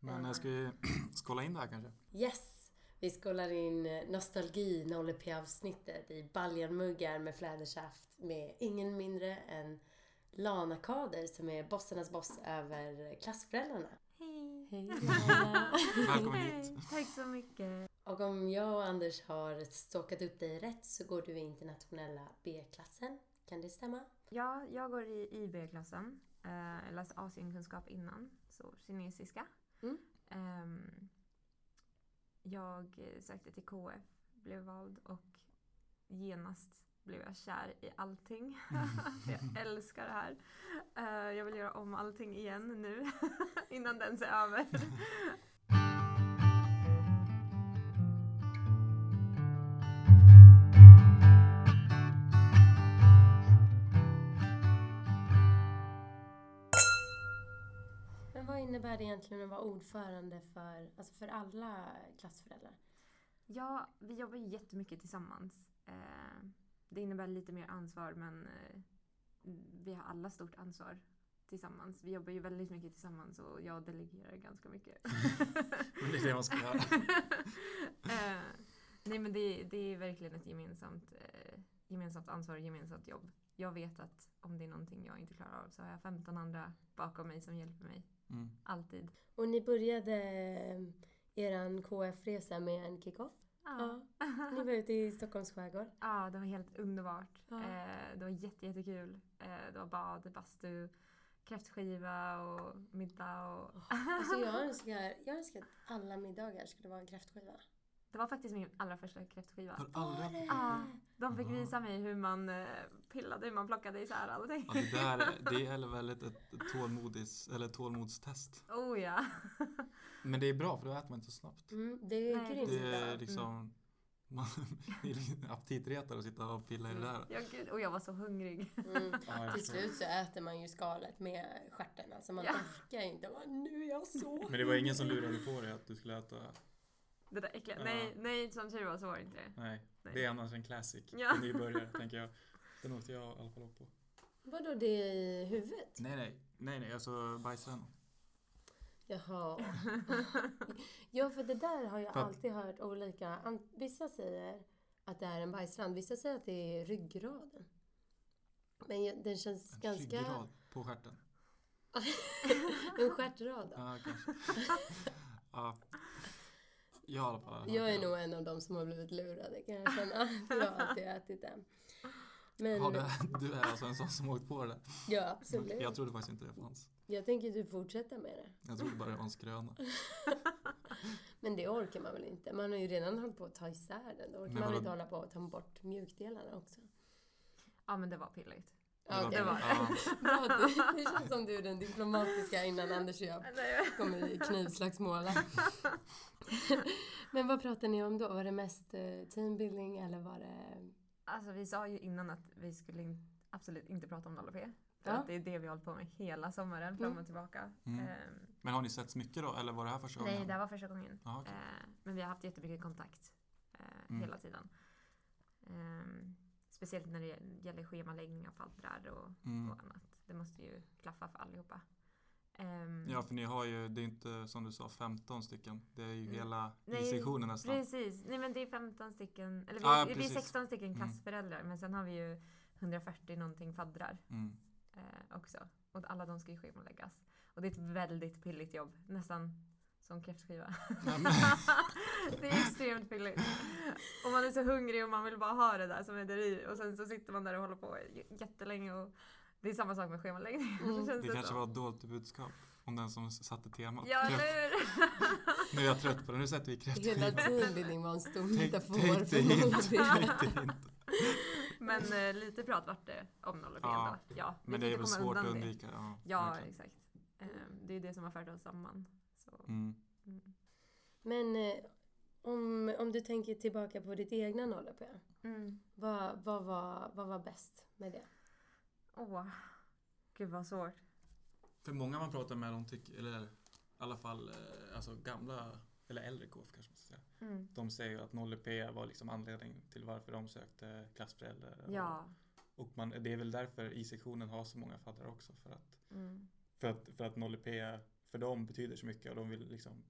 Men eh, ska vi skåla in det här kanske? Yes! Vi skålar in eh, nostalgi avsnittet i baljanmuggar med flädersaft med ingen mindre än Lana Kader som är bossarnas boss över klassföräldrarna. Hej! Hej Lana! Välkommen hit! Tack så mycket. Och om jag och Anders har stockat upp dig rätt så går du i internationella B-klassen. Kan det stämma? Ja, jag går i IB-klassen. Eh, Jag läste Asienkunskap innan, så kinesiska. Mm. Ehm, Jag sökte till KF, blev vald och genast blev jag kär i allting. jag älskar det här. Eh, Jag vill göra om allting igen nu innan den är över. Men vad innebär det egentligen att vara ordförande för, alltså för alla klassföräldrar? Ja, vi jobbar ju jättemycket tillsammans. Eh, Det innebär lite mer ansvar men eh, vi har alla stort ansvar tillsammans. Vi jobbar ju väldigt mycket tillsammans och jag delegerar ganska mycket. Men det är det man ska göra. Eh, Nej men det, det är verkligen ett gemensamt, eh, gemensamt ansvar och gemensamt jobb. Jag vet att om det är någonting jag inte klarar av så har jag 15 andra bakom mig som hjälper mig. Mm. Alltid. Och ni började eh, eran KF-resa med en kick-off. Ja. Ni var ute i Stockholms skärgård. Ja, det var helt underbart. Ja. Eh, det var jätte, jättekul. Eh, det var bad, bastu, kräftskiva och middag. Och... Alltså jag önskar, jag önskar att alla middagar skulle vara en kräftskiva. Det var faktiskt min allra första kräftskiva. Har aldrig... det? Ja, de fick Wow. visa mig hur man eh, pillade, hur man plockade isär allting. Ja, det, där, det är väl ett, ett tålmodis, eller tålmodstest. Oh ja. Men det är bra för då äter man inte så snabbt. Mm, det är Nej, grymt. Det är bra. liksom... Man, det är lite aptitretare att sitta och pilla i det där. ja gud. Och jag var så hungrig. Mm. Ja, jag Till förstår. slut så äter man ju skalet med stjärten. Alltså man Ja. orkar ju inte. Bara, nu är jag så Men det var ingen som lurade på dig att du skulle äta? Det där äckliga. Ja. Nej, nej, som tur var så var det inte det. Nej, Nej. det är annars en classic Ja. för nybörjare tänker jag. Den åkte jag i alla fall upp på. Vadå det i huvudet? Nej, nej, nej, nej, alltså bajsen. Jaha. ja för det där har jag För att- alltid hört olika. an- Vissa säger att det är en bajsrand. Vissa säger att det är ryggraden. Men jag- den känns En ganska... Ryggrad på stjärten. en stjärtrad. då. Ja, kanske. ja. Jag har i alla fall hört Jag är det. nog en av dem som har blivit lurade kan jag känna. För jag har alltid ätit den. Men Har du, du är alltså en sån som åkt på det? ja, absolut. Jag trodde faktiskt inte det fanns. Jag tänker typ fortsätta med det. Jag trodde bara det var en skröna. Men det orkar man väl inte? Man har ju redan hållit på att ta isär den. Då orkar Men man väl vadå? inte hålla på att ta bort mjukdelarna också. Ja, men det var pilligt. Ja, det var- ja. Bra, att du- det känns som du är den diplomatiska innan Anders och jag kommer i knivslagsmål. Men vad pratade ni om då? Var det mest eh, teambuilding eller var det... Alltså vi sa ju innan att vi skulle in, absolut inte prata om LP. För Ja. att det är det vi har hållit på med hela sommaren, fram och tillbaka. Mm. Ehm, Men har ni sett mycket då? Eller var det här första nej, gången? det här var första gången. Ja, okej. Eh, men vi har haft jättemycket kontakt eh, Mm. hela tiden. Ehm, speciellt när det gäller schemaläggning av faddrar och, Mm. och annat. Det måste ju klaffa för allihopa. Ehm, Ja, för ni har ju, det är inte som du sa 15 stycken. Det är ju Mm. hela Nej, I-sektionen nästan. Precis, nej men det är 15 stycken, eller vi, Ah, ja, vi är precis. 16 stycken Mm. klassföräldrar men sen har vi ju 140 någonting faddrar. Mm. eh, också. Och alla de ska ju schemaläggas. Och det är ett väldigt pilligt jobb. Nästan som kräftskiva. Nej, men- det är extremt pilligt. Och man är så hungrig och man vill bara ha det där som är där i. Och sen så sitter man där och håller på j- jättelänge. Och det är samma sak med schemaläggning. Mm. känns Det kanske som. var ett dolt budskap om den som s- satte temat. Ja, Kräft- eller hur? nu är jag trött på det, nu sätter vi kräftskiva. Hela teambuilding var en stor Take, metafor take the för hint, take målbilden. the hint. Men eh, lite prat vart det om noll och Ja, ja. ja, vi Men kan det inte är väl komma svårt att undan det. undvika. Ja, Ja, verkligen. exakt. Eh, det är ju det som har fört oss samman. Så. Mm. Mm. Men eh, om, om du tänker tillbaka på ditt egna nollöp, Mm. vad, vad, var, vad var bäst med det? Åh, gud vad svårt. För många man pratar med, de tycker, eller i alla fall eh, alltså gamla, eller äldre KF kanske man ska säga. Mm. De säger ju att 0EP var liksom anledningen till varför de sökte klassföräldrar. Ja. Och man, det är väl därför I-sektionen har så många faddrar också. För att, Mm. för att, för att 0EP för dem betyder så mycket och de vill liksom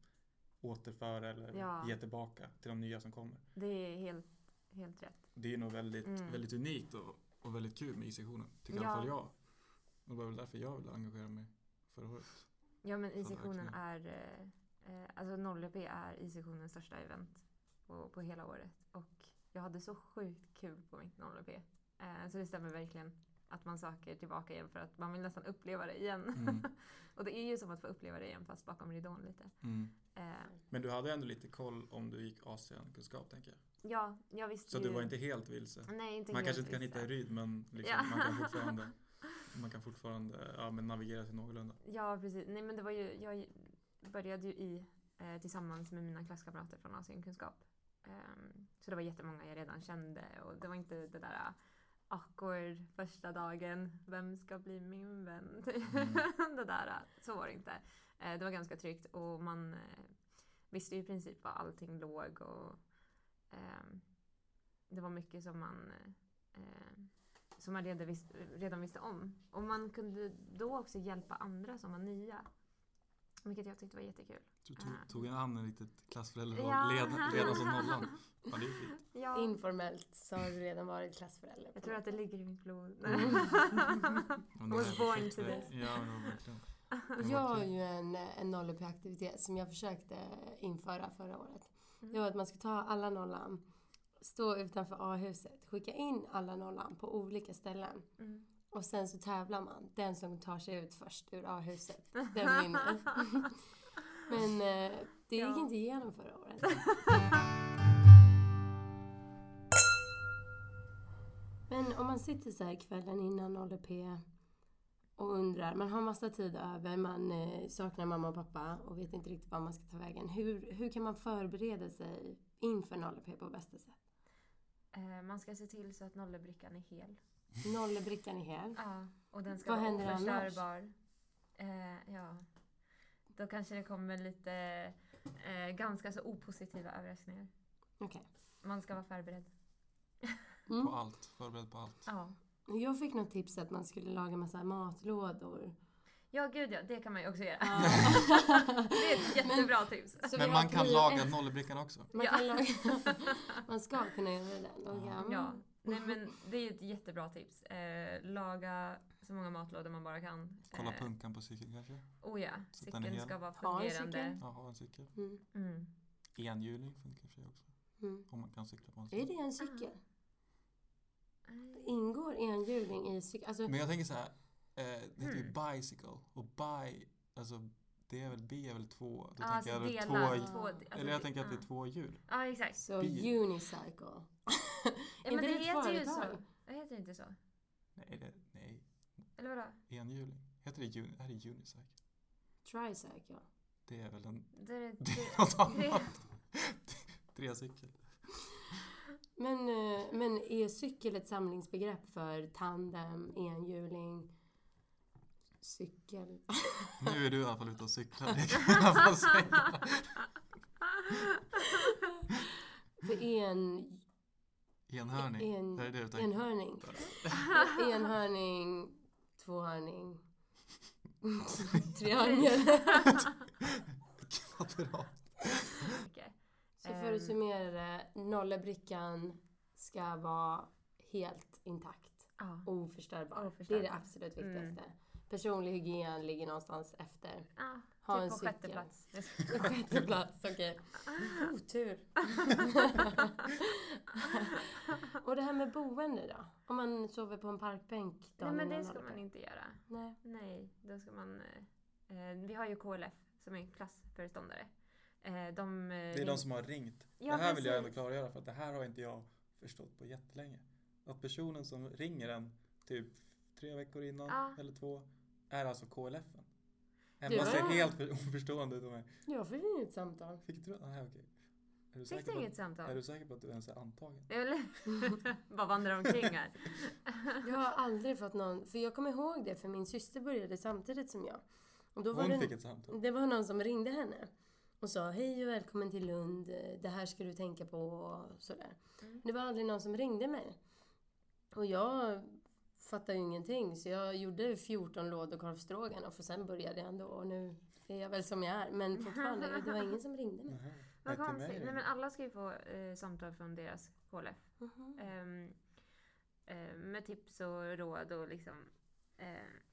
återföra eller Ja. ge tillbaka till de nya som kommer. Det är helt, helt rätt. Det är nog väldigt, Mm. väldigt unikt och, och väldigt kul med IC-sektionen, tycker i alla Ja. fall jag. Och det var väl därför jag ville engagera mig förra året. Ja men Fan, I-sektionen verkligen. är, eh, eh, alltså Norrköping är I-sektionens största event på, på hela året. Och jag hade så sjukt kul på mitt Norrköping. Eh, så det stämmer verkligen att man söker tillbaka igen för att man vill nästan uppleva det igen. Mm. och det är ju som att få uppleva det igen fast bakom ridån lite. Mm. Eh, Men du hade ändå lite koll om du gick Asienkunskap tänker jag. ja, jag visste Så ju... du var inte helt vilse. Nej, inte Man Mm. helt kanske inte kan visste. hitta i Ryd men liksom, Ja. man kan fortfarande, man kan fortfarande ja, men navigera sig någorlunda. Ja, precis. Nej, men det var ju, jag började ju i eh, tillsammans med mina klasskamrater från Asienkunskap. Ehm, så det var jättemånga jag redan kände och det var inte det där eh, awkward första dagen, vem ska bli min vän? typ. det där, eh, så var det inte. Eh, det var ganska tryggt och man eh, visste ju i princip var allting låg och ehm, det var mycket som man eh, eh, som man redan, vis- redan visste om. Och man kunde då också hjälpa andra som var nya. Vilket jag tyckte var jättekul. Du tog- Ah. tog an en litet klassföräldraroll, Ja. leda, leda som nollan. Ja, det är fint. Ja, Informellt så har du redan varit klassförälder. jag tror att det ligger i mitt blod. Men det Was var born perfekt. to this. Ja, men det var verkligen. Det Jag var har kul. ju en, en nolluppi-aktivitet som jag försökte införa förra året. Mm. Det var att man skulle ta alla nollan, stå utanför A-huset, skicka in alla nollan på olika ställen Mm. och sen så tävlar man. Den som tar sig ut först ur A-huset, den vinner. Men eh, det gick Ja. inte igenom förra året. Men om man sitter så här kvällen innan ADP och undrar, man har massa tid över, man eh, saknar mamma och pappa och vet inte riktigt var man ska ta vägen. Hur, hur kan man förbereda sig inför 0p på bästa sätt? Eh, Man ska se till så att nollebrickan är hel. Nollebrickan är här. Ja, och den ska Vad vara händer annars? oförstörbar. Eh, ja. Då kanske det kommer lite eh, ganska så opositiva överraskningar. Okej. Man ska vara förberedd. På Mm. allt, förberedd på allt. Ja. Jag fick något tips att man skulle laga massa matlådor. Ja, gud ja, det kan man ju också göra. Ja. Ah. Det är ett jättebra tips. Så vi Men har man kan prio laga ett. nollebrickan också. Man, Ja. kan laga, man ska kunna göra det. Laga. Mm. Ja, nej men det är ett jättebra tips. Eh, laga så många matlådor man bara kan. Kolla eh, punkan på cykeln kanske? Oh ja, Så att den är cykeln hel. ska vara Ha en fungerande. cykel. Ja, ha en cykel. Mm. Mm. Enhjuling funkar i och för sig också. Mm. Om man kan cykla på en Är cykel. det en cykel? Nej. Ingår enhjuling i cykel? Alltså, Men jag tänker så här. Eh, det heter ju Mm. bicycle. Och bi, alltså det är väl B är väl två. Då Ja, tänker alltså jag det är delar. två, två alltså eller jag det- tänker att det är ja. två hjul. Ja, exakt. så Bil. unicycle. Ja, Är men det det ett heter ju så. företag? Det heter inte så. Nej, det, nej. Eller vadå? Enhjuling. Heter det uni, det här är unicycle? Tricycle. Det är väl en... Det är, Det det- är något det- annat. Trecykel. Men, eh, men är cykel ett samlingsbegrepp för tandem, enhjuling, cykel? Nu är du i alla fall ute och cyklar. Det kan jag i alla fall säga. För en, Enhörning. en, Det är det du tänker. enhörning. Enhörning, tvåhörning, triangel. Kvadrat. Så för Ehm. att summera det, nollebrickan ska vara helt intakt. Ja. Oförstörbar. Det är Oförstörbar. Mm. det absolut viktigaste. Personlig hygien ligger någonstans efter. Ja, Ha en typ på cykel. sjätte plats. Sjätte plats, okej. Otur. Och det här med boende då? Om man sover på en parkbänk då? Nej men det man ska håller man på. inte göra. Nej. Nej, då ska man... eh, Eh, vi har ju KLF som är klassföreståndare. Eh, de, eh, Det är ring- de som har ringt. Ja, det här vill jag precis. ändå klargöra för att det här har inte jag förstått på jättelänge. Att personen som ringer en typ tre veckor innan Ja. eller två är alltså KLFen. Du Emma ser var- helt för- oförstående ut på mig. Jag fick inget samtal. Fick du? Nej, okej. Är du, Fick säker du på inget att, är samtal? du säker på att du ens är antagen? Eller? Bara vandrar omkring här. Jag har aldrig fått någon, för jag kommer ihåg det för min syster började samtidigt som jag. Och då var Hon det, fick ett samtal. det var någon som ringde henne och sa hej och välkommen till Lund, det här ska du tänka på och sådär. Mm. Det var aldrig någon som ringde mig. Och jag fattade ju ingenting så jag gjorde 14 lådor korvstrågan och sen började jag ändå och nu Det är jag väl som jag är. Men fortfarande, det var ingen som ringde mig. Nähä. Mm. Nej, Vad till mig konstigt. ringde. Nej men alla ska ju få eh, samtal från deras KLF. Mhm. Ehm, eh, med tips och råd och liksom eh,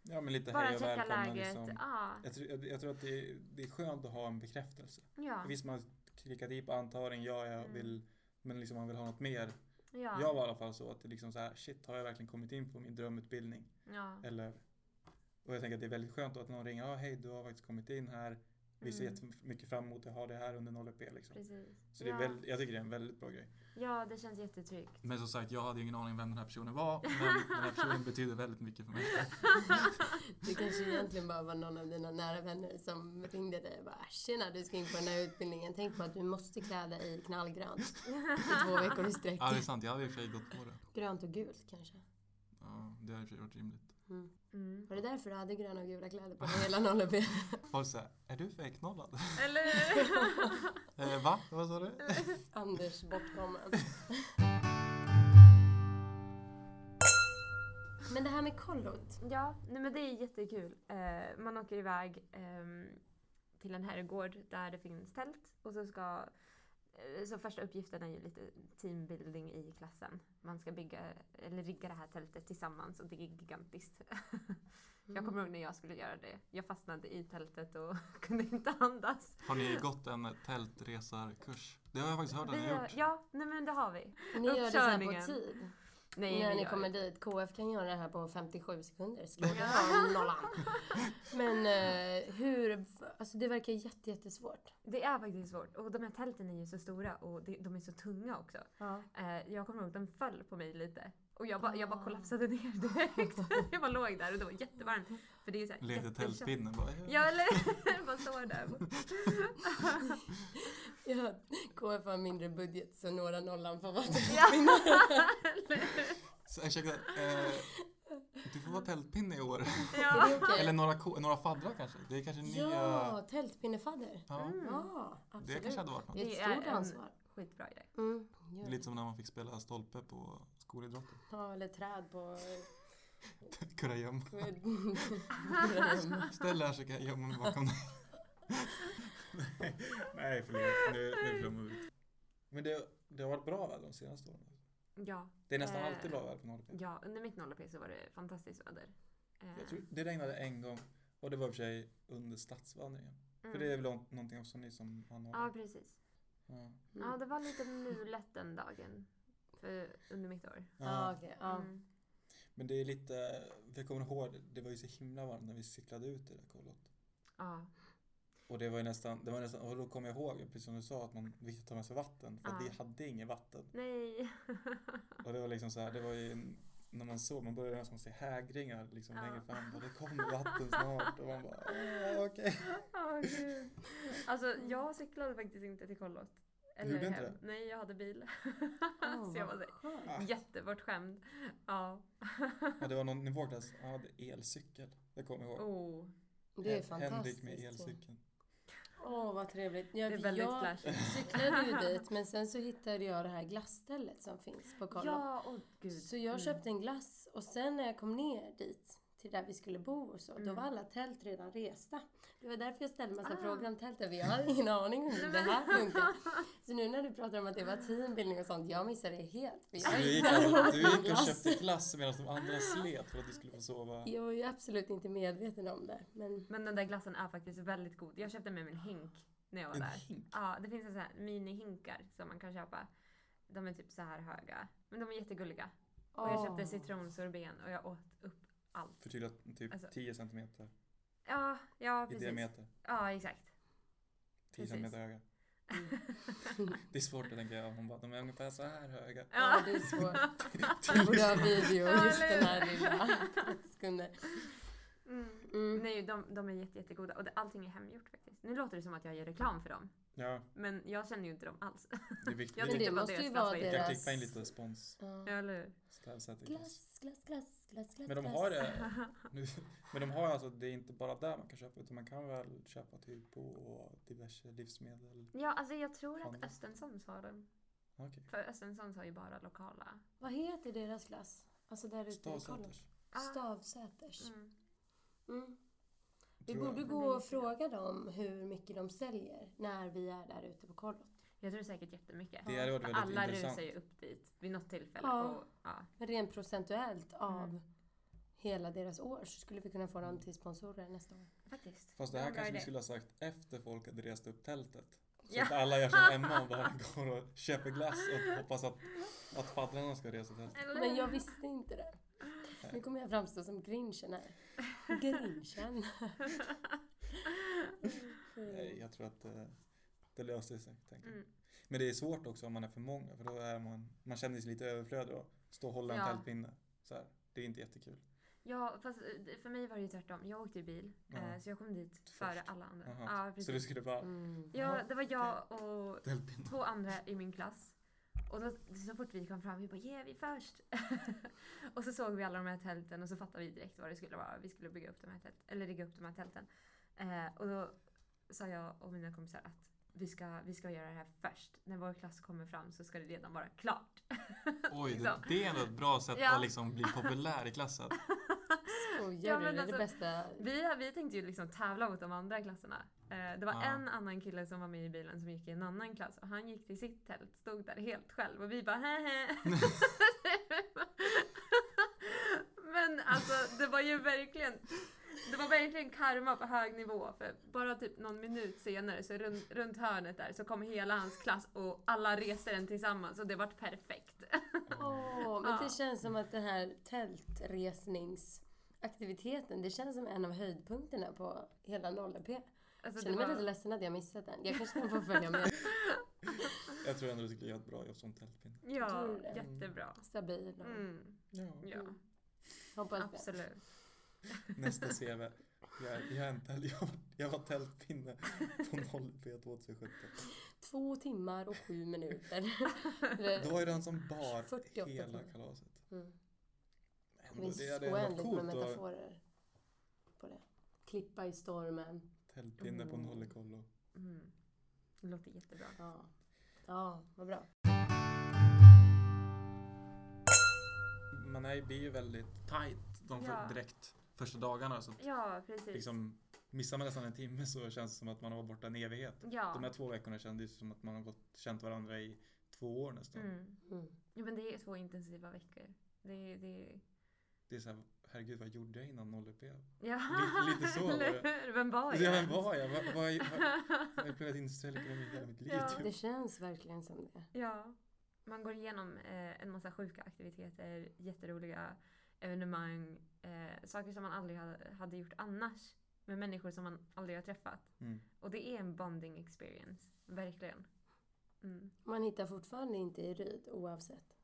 Ja, men lite bara hej och checka välkomna läget. liksom. Ah, Jag tror, jag, jag tror att det är, det är skönt att ha en bekräftelse. ja, Visst, man klickar i på antaring, ja, jag Mm. vill, men liksom man vill ha något mer. ja, Jag ja, var i alla fall så att det liksom så här, shit, har jag verkligen kommit in på min drömutbildning? ja. Eller, och jag tänker att det är väldigt skönt att någon ringer, ja, hej, du har faktiskt kommit in här. Vi ser Mm. jättemycket fram emot att ha det här under 0P liksom. Precis. Så det är ja. väldigt, jag tycker det är en väldigt bra grej. ja, det känns jättetryggt. Men som sagt, jag hade ju ingen aning vem den här personen var. Men den här personen betyder väldigt mycket för mig. Det kanske egentligen bara var någon av dina nära vänner som ringde dig och bara "Ah, “Tjena, du ska in på den här utbildningen. Tänk på att du måste klä dig i knallgrönt i två veckor i sträck. Ja, det är sant. Jag hade i och för sig gått på det. Grönt och gult kanske. Ja, det hade i och för sig varit rimligt. Mm. Mm. Var det därför du hade gröna och gula kläder på dig hela 0B? Folk säger, är du fejknollad? Eller eh, va? Vad sa du? Anders bortkommen. Men det här med kollot. Ja, nej men det är jättekul. Eh, man åker iväg ehm, till en herrgård där det finns tält och så ska eh, så första uppgiften är ju lite teambuilding i klassen. Man ska bygga eller rigga det här tältet tillsammans och det är gigantiskt. Mm. Mm. Jag kommer ihåg när jag skulle göra det. Jag fastnade i tältet och kunde inte andas. Har ni gått en tältresarkurs? Det har jag faktiskt hört att ni Vi har gör, gjort. ja, nej men det har vi. Ni gör det så här Uppkörningen. på tid. Nej, när vi ni gör kommer det. dit. KF kan göra det här på 57 sekunder. Slå det här om nollan. Men eh, hur... Alltså det verkar jätte, jättesvårt. Det är faktiskt svårt. Och de här tälten är ju så stora och det- de är så tunga också. Ja. Eh, jag kommer ihåg att den föll på mig lite. Och jag bara, jag bara Ah. kollapsade ner direkt. jag bara låg där och det var jättevarmt. För det är ju såhär Lekte tältpinne bara. "Eh, Ja eller jag bara står där. Ja, KF har mindre budget så några nollan får vara Ja. tillkvinnor. Så, ursäkta, eh, du får vara tältpinne i år. ja. Eller några, ko- några faddrar kanske? Det är kanske nya... Ja, tältpinnefadder. Ja, Mm. Ja, det absolut. kanske hade varit något. Det är Det ett är stort en- ansvar. Skitbra grej. Mm. Det gör är det. lite som när man fick spela stolpe på skolidrotten. Ja, eller träd på... Kurragömma. Ställ dig här så kan jag gömma mig bakom dig. Nej, förlåt. Nu, nu flummar vi ut. Men det, det har varit bra väder de senaste åren. Ja, Det är nästan Eh. alltid bra väder på 0P. ja, under mitt 0P så var det fantastiskt väder. Eh, Jag tror det regnade en gång och det var i och för sig under stadsvandringen. mm. För det är väl nå- någonting också ni som anordnar? Ja, precis. Ja. Ja, det var lite mulet den dagen. För, under mitt år. Ja, Ja. okej. Ja. Mm. Men det är lite, jag kommer ihåg, det var ju så himla varmt när vi cyklade ut i det där kollot. Ja. Och det var ju nästan, det var nästan, och då kommer jag ihåg, precis som du sa, att man viktigt att ta med sig vatten. För att Ja. vi hade inget vatten. Nej. Och det var liksom så här, det var ju en, när man såg, man började nästan se hägringar liksom Ja. längre fram. Bara, det kommer vatten snart. Och man bara, "Åh, okej. Åh gud. Alltså jag cyklade faktiskt inte till kollot. Eller gjorde inte hem. det? Nej, jag hade bil. Åh, så jag var vad så skönt. Ah. jättebortskämd. Ja. Ja, det var någon i vår klass som hade elcykel. Det kommer jag ihåg. Oh. Det är Hen- fantastiskt. Henrik med elcykeln. Åh, vad trevligt. Ja, Det är väldigt jag flashigt. cyklade ju dit, men sen så hittade jag det här glasstället som finns på Kollom. Ja, åh gud. Mm. Så jag köpte en glass och sen när jag kom ner dit till där vi skulle bo och så, då var alla tält redan resta. Det var därför jag ställde massa Mm. Ah. frågor om tälten, för jag hade ingen aning om hur det här funkar. Så nu när du pratar om att det var teambuilding och sånt, jag missade det helt. För Så jag du gick, där alltså, åt du gick och glass. köpte glass medan de andra slet för att du skulle få sova. Jag var ju absolut inte medveten om det, men Men den där glassen är faktiskt väldigt god. Jag köpte med mig en hink när jag var En där. hink? Ja, det finns en sån här minihinkar som man kan köpa. De är typ så här höga. Men de är jättegulliga. Och jag köpte Åh. citronsorben och jag åt upp allt. För tydligen typ Alltså- 10 centimeter Ja, ja i precis. diameter. 10 Ja, exakt. Precis. Mm. centimeter höga. Det är svårt att tänka, ja, hon bara, de är ungefär så här höga. ja, det är svårt. Vi borde ha video, just den här lilla 30 sekunder. Mm. Mm. Nej, de, de är jätte, jättegoda och det, allting är hemgjort faktiskt. Nu låter det som att jag gör reklam för dem, Ja, men jag känner ju inte dem alls. det är viktigt. Jag Men Vi tyckte det bara måste ju deras vara glass kan var deras- klippa in lite spons. Ja. Ja, eller hur? Strävsätter glass. Glass, glass, glass, glass, glass. Men de glass. har det. Nu, men de har alltså, det är inte bara där man kan köpa utan man kan väl köpa typ på diverse livsmedel. Ja, alltså jag tror att Handla. Östensons har dem. Okej. För Östensons har ju bara lokala. Vad heter deras glass? Alltså där ute i Kollom? Stavsäters. Ah, Stavsäters. mm. Mm. Vi Tror jag. borde jag. gå och fråga dem hur mycket de säljer när vi är där ute på kollot. Jag tror säkert jättemycket. Det hade varit För väldigt alla intressant. rusar ju upp dit vid något tillfälle. Ja. Och, ja. Men Rent procentuellt av Mm. hela deras år så skulle vi kunna få dem till sponsorer nästa år. Faktiskt. Fast det här var en bra kanske vi idé. skulle ha sagt efter folk hade rest upp tältet. Så Ja. att alla gör som Emma och bara går och köper glass och hoppas att, att faddrarna ska resa tältet. Eller? Men jag visste inte det. Nej. Nu kommer jag framstå som grinchen här. Grinchen. Nej, jag tror att det, det löser sig. Tänker. jag. Mm. Men det är svårt också om man är för många för då är man, man känner sig lite överflödig då. Stå och hålla en Ja. tältpinne. Så här. Det är inte jättekul. Ja, fast eh, för mig var det ju tvärtom. Jag åkte i bil, Ja. eh, så jag kom dit före alla andra. Jaha. Ja, precis. så du skulle bara Mm. Ja, det var jag och tältpinne. två andra i min klass. Och då, så fort vi kom fram, vi bara yeah, vi är först. och så såg vi alla de här tälten och så fattade vi direkt vad det skulle vara. Vi skulle bygga upp de här tält, eller rigga upp de här tälten. Eh, och då sa jag och mina kompisar att vi ska, vi ska göra det här först. När vår klass kommer fram så ska det redan vara klart. Oj, det, Liksom. det är ändå ett bra sätt Ja. att liksom bli populär i klassen. Skojar Ja, du? men det är det alltså- bästa. Vi, vi tänkte ju liksom tävla mot de andra klasserna. Eh, det var Ja. en annan kille som var med i bilen som gick i en annan klass och han gick till sitt tält, stod där helt själv och vi bara hehe. Men alltså det var ju verkligen det var verkligen karma på hög nivå för bara typ någon minut senare så runt, runt hörnet där så kom hela hans klass och alla reste den tillsammans och det vart perfekt. Åh, men Ja. det känns som att den här tältresningsaktiviteten, det känns som en av höjdpunkterna på hela 0P. Alltså, Känner mig var- lite ledsen att jag missat den. Jag kanske kan få följa med. Jag tror ändå du skulle göra ett bra jobb som tältpinne. Ja, Tror du det? jättebra. Stabil och Mm, Ja, ja, hoppas det. absolut. nästa CV. Jag, är- jag, är en tält, jag, var, jag var tältpinne på 0P 2017. Två timmar och sju minuter. Det var ju den som bar 48 hela timmar. kalaset. Mm. Men Det ändå, finns det hade ändå oändligt med varit coolt att metaforer på det. Klippa i stormen. tältpinne på Mm. nollekollo. Mm. Det låter jättebra. Ja, ja vad bra. Man är, blir ju väldigt Tight de för, Ja. direkt första dagarna. Så att Ja, precis. liksom, missar man nästan en timme så känns det som att man har varit borta en evighet. ja. De här två veckorna kändes ju som att man har gått, känt varandra i två år nästan. mm. Mm. Jo, men det är två intensiva veckor. Det, det... Det är så här, herregud vad gjorde jag innan 0P? Ja. Lite- lite så var det. Eller hur? Vem var Ja, jag? vem var jag? Vad, vad, vad, jag har ju pluggat industriell ekonomi hela mitt liv Ja. typ. Det känns verkligen som det. Ja. Man går igenom eh, en massa sjuka aktiviteter, jätteroliga evenemang, eh, saker som man aldrig ha- hade gjort annars med människor som man aldrig har träffat. Mm. Och det är en bonding experience, verkligen. Mm. Man hittar fortfarande inte i Ryd oavsett.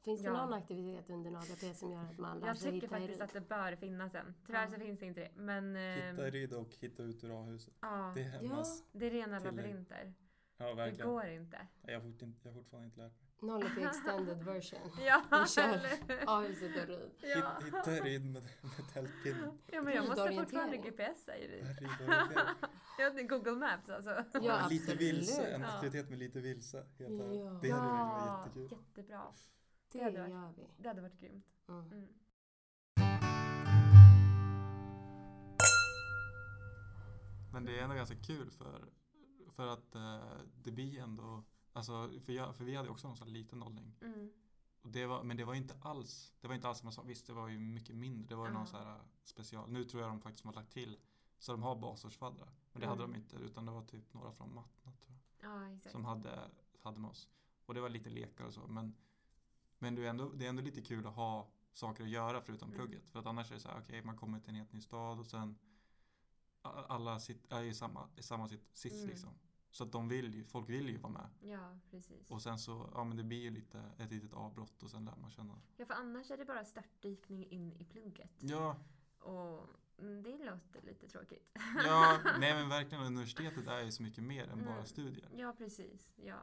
Finns det Ja. någon aktivitet under NADP som gör att man lär Jag sig tycker hitta i faktiskt Ryd? att det bör finnas en. Tyvärr så Ja. finns det inte det. Men eh, Hitta i Ryd och hitta ut ur A-huset. ja, Det är Emmas. det är rena tillägg. labyrinter. Ja, Det verkligen. går inte. Jag har, fortfarande, jag har fortfarande inte lärt mig. Nollep extended version. Ja, Vi kör. eller- A-huset och Ryd. ja. Hitta, hitta i Ryd med, med tältpinnen. ja, men jag måste fortfarande Tidorientering. GPSa i det. Ryd och Ryd. Ja, det är Google Maps alltså. Ja, lite absolut. vilse. En Ja. aktivitet med lite vilse. Heter det. Ja. det hade varit jättekul. jättebra. Det hade varit- gör vi. Det hade varit grymt. Mm. Mm. Men det är ändå ganska kul för, för att eh, det blir ändå... Alltså, för, jag, för vi hade också någon sån här liten nollning. Mm. Och det var, men det var ju inte alls, det var inte alls som jag sa. Visst, det var ju mycket mindre. Det var ju Ja. någon så här eh, special. Nu tror jag de faktiskt har lagt till så de har basårsfaddrar. Men det hade Mm. de inte utan det var typ några från Matna tror Ja, jag, exakt. som hade, hade med oss. Och det var lite lekar och så. Men, men det, är ändå, det är ändå lite kul att ha saker att göra förutom Mm. plugget. För att annars är det så här, okej man kommer till en helt ny stad och sen a- alla sit, är i samma, i samma sitt, sits Mm. liksom. Så att de vill ju, folk vill ju vara med. Ja, precis. Och sen så, ja men det blir ju lite ett litet avbrott och sen lär man känna Ja, för annars är det bara störtdykning in i plugget. Ja, Och mm, det låter lite tråkigt. ja nej men verkligen universitetet är ju så mycket mer än bara Mm. studier. Ja, precis. Ja.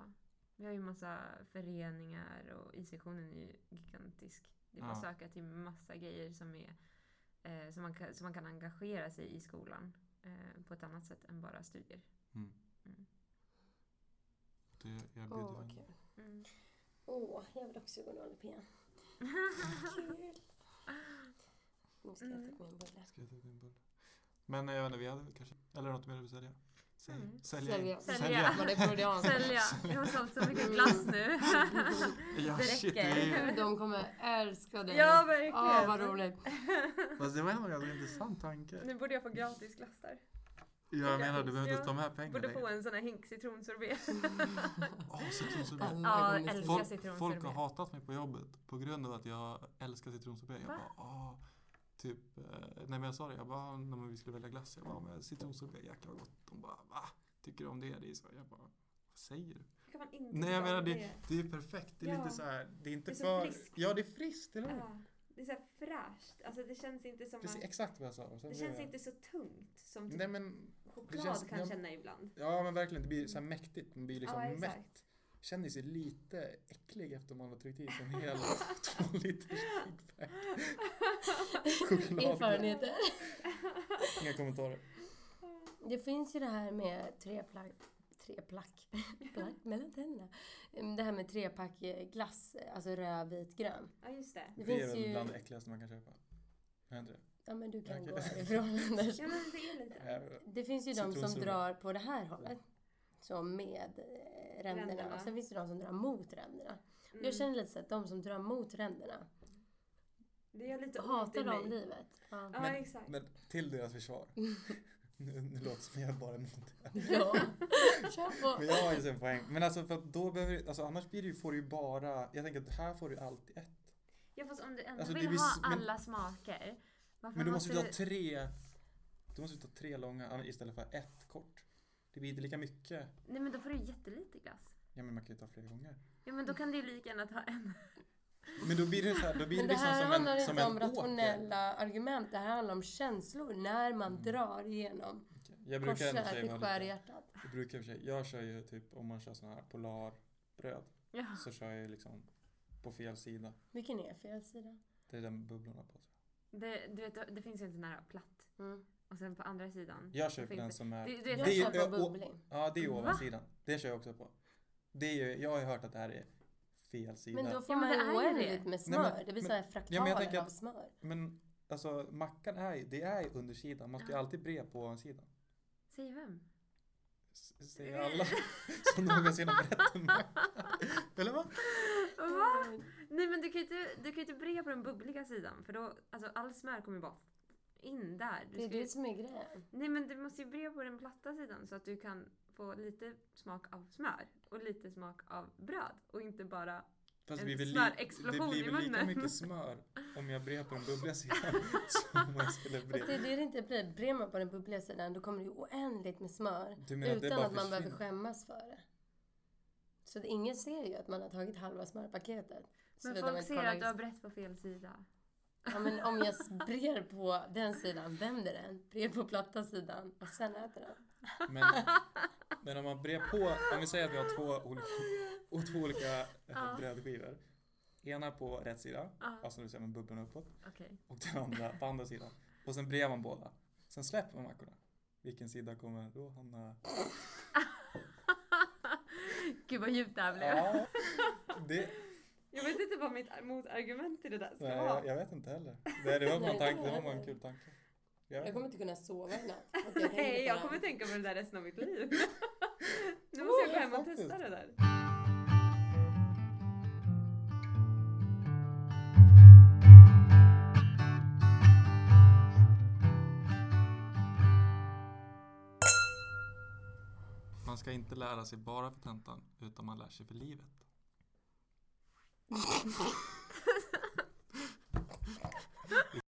Vi har ju massa föreningar och I-sektionen är ju gigantisk. Det är bara Ja. att söka till massa grejer som, är, eh, som, man kan, som man kan engagera sig i skolan eh, på ett annat sätt än bara studier. Det erbjuder Åh, ju- vad kul. Mm. Åh, jag vill också gå Nollep igen. Kul. Nu ska jag ta Mm. upp min bulle. Ska jag ta din bulle? Men jag vet inte, vi hade väl kanske, eller något mer att sälja. Sälj, Mm. Sälja. in. Sälja. Sälja. Var det freudianskt? Sälja. Jag har sålt så mycket glass nu. Mm. Ja, Det shit, det räcker. är, Gud, de kommer älska dig. ja, verkligen. Åh, vad roligt. fast det var ändå en ganska intressant tanke. Nu borde jag få gratis glass där. Jag menar, du behöver inte Ja. ens ta med pengar Borde få längre. en sån här hink citronsorbet. Åh, citronsorbet. Alla Ja, gånger. älskar Mm. Folk, citronsorbet. folk har hatat mig på jobbet på grund av att jag älskar citronsorbet. Jag Va? bara, åh, typ, eh, nej men jag sa det, jag bara, när vi skulle välja glass, jag bara, men citronsorbet, jäklar vad gott. De bara, va? Tycker du om det? Det är så, jag bara, vad säger du? Hur kan man inte Nej jag tycka menar om det, det är perfekt, det är Ja. lite så här, det är inte Det är så för... friskt. Ja det är friskt, eller hur? Ja, det är så här fräscht. Alltså det känns inte som Precis, att, exakt vad jag sa. Och sen Det blev känns jag- inte så tungt som typ Nej men, choklad känns- kan ja, känna ibland. ja men verkligen, det blir så här mäktigt. Man blir liksom Ja, exakt. mätt. Känner sig lite äcklig efter man har tryckt i sig en hel två liters Big Mac. Choklad. Erfarenheter. Inga kommentarer. Det finns ju det här med tre plack, tre plack, plack mellan tänderna. Mm, Det här med trepack eh, glass, eh, alltså röd, vit, grön. Ja, just det. Det, Det är finns väl bland det ju... äckligaste man kan köpa. Är inte det? Ja men du kan Okej. gå härifrån Anders. Ja, men det är lite... Eh, Det finns ju de som Citronsorbet. drar på det här hållet. Så med eh, ränderna. Ränderna. Och sen finns det de som drar mot ränderna. Mm. Jag känner lite så att de som drar mot ränderna det gör lite ont i hatar de mig. livet. Ja. Ja, Men- exakt. Men till deras försvar. Nu, nu låter det som jag bara är emot det. ja. Kör Men på. jag har ju sin poäng. Men alltså för att då behöver du, alltså annars blir det ju, får du ju bara, jag tänker att här får du allt i ett. Ja, fast om du ändå Alltså, det vill blir s- ha men- alla smaker. Varför Men du måste måste ju ta tre, du måste ju ta tre långa istället för ett kort. Det blir inte lika mycket. Nej, men då får du jättelite glass. Ja men man kan ju ta flera gånger. Ja, men då kan du ju lika gärna ta en. Men då blir det så här, då blir det Men det liksom här som handlar en, som inte om en åker. rationella argument. Det här handlar om känslor. När man Mm. drar igenom Okej, Jag brukar ändå korsar, säga det vara skär i lite- hjärtat. jag brukar i och för sig, jag kör ju typ om man kör såna här polarbröd Ja. så kör jag ju liksom på fel sida. Vilken är fel sida? Det är den bubblorna på. Det, du vet, det finns ju inte nära platt. Mm. Och sen på andra sidan. Jag kör på så finns den det- som är... Du, du Det vet, Jag är ju- kör ö- på å- bubbling. Ja, det är Va? ovansidan. Det kör jag också på. Det är ju, jag har ju hört att det här är fel sida. Men Men, då får Ja, men man det är ju det. oändligt med Nej, men- smör. Det blir men- såhär ja, men jag fraktaler tänker av att- smör. alltså mackan är ju, det är ju undersidan. Man ska ju Ja. alltid bre på ovansidan. Säg vem? S- Säger Eh. alla som någonsin har brett en macka. Eller vad? Va? Nej men du kan ju inte, du kan ju inte bre på den bubbliga sidan för då, alltså all smör kommer ju bara in där. Du Det är ska ju, det som är grejen. nej men du måste ju bre på den platta sidan så att du kan få lite smak av smör och lite smak av bröd och inte bara... Fast det blir En väl, li- det smörexplosion i blir väl lika munnen. mycket smör om jag brer på den bubbliga sidan som om jag skulle Fast det bre. är det det inte blir. Brer man på den bubbliga sidan då kommer det ju oändligt med smör. Du menar att det Utan bara att man behöver försvinner? skämmas för det. Så att ingen ser ju att man har tagit halva smörpaketet. Men Såvida man folk inte ser kollar liksom, att du har brett på fel sida. Ja, men om jag brer på den sidan, vänder den, brer på platta sidan och sen äter den. Men, men om man brer på, om vi säger att vi har två olika, och två olika eh, Ja. brödskivor. Ena på rätt sida, Ja. alltså nu ser man bubblorna uppåt. Okej. och den andra på andra sidan. Och sen brer man båda. Sen släpper man mackorna. Vilken sida kommer då hamna? Gud vad djupt det här blev. Ja, det, Jag vet inte vad mitt motargument till det där ska nej, vara. jag, jag vet inte heller. Det, det var bara en Nej, tanke, det var bara en kul tanke. Jag Jag vet kommer inte. inte kunna sova i natt. för att tänker på Nej, det jag här. kommer tänka på det där resten av mitt liv. Nu måste jag gå hem och faktiskt. testa det där. Man ska inte lära sig bara för tentan, utan man lär sig för livet.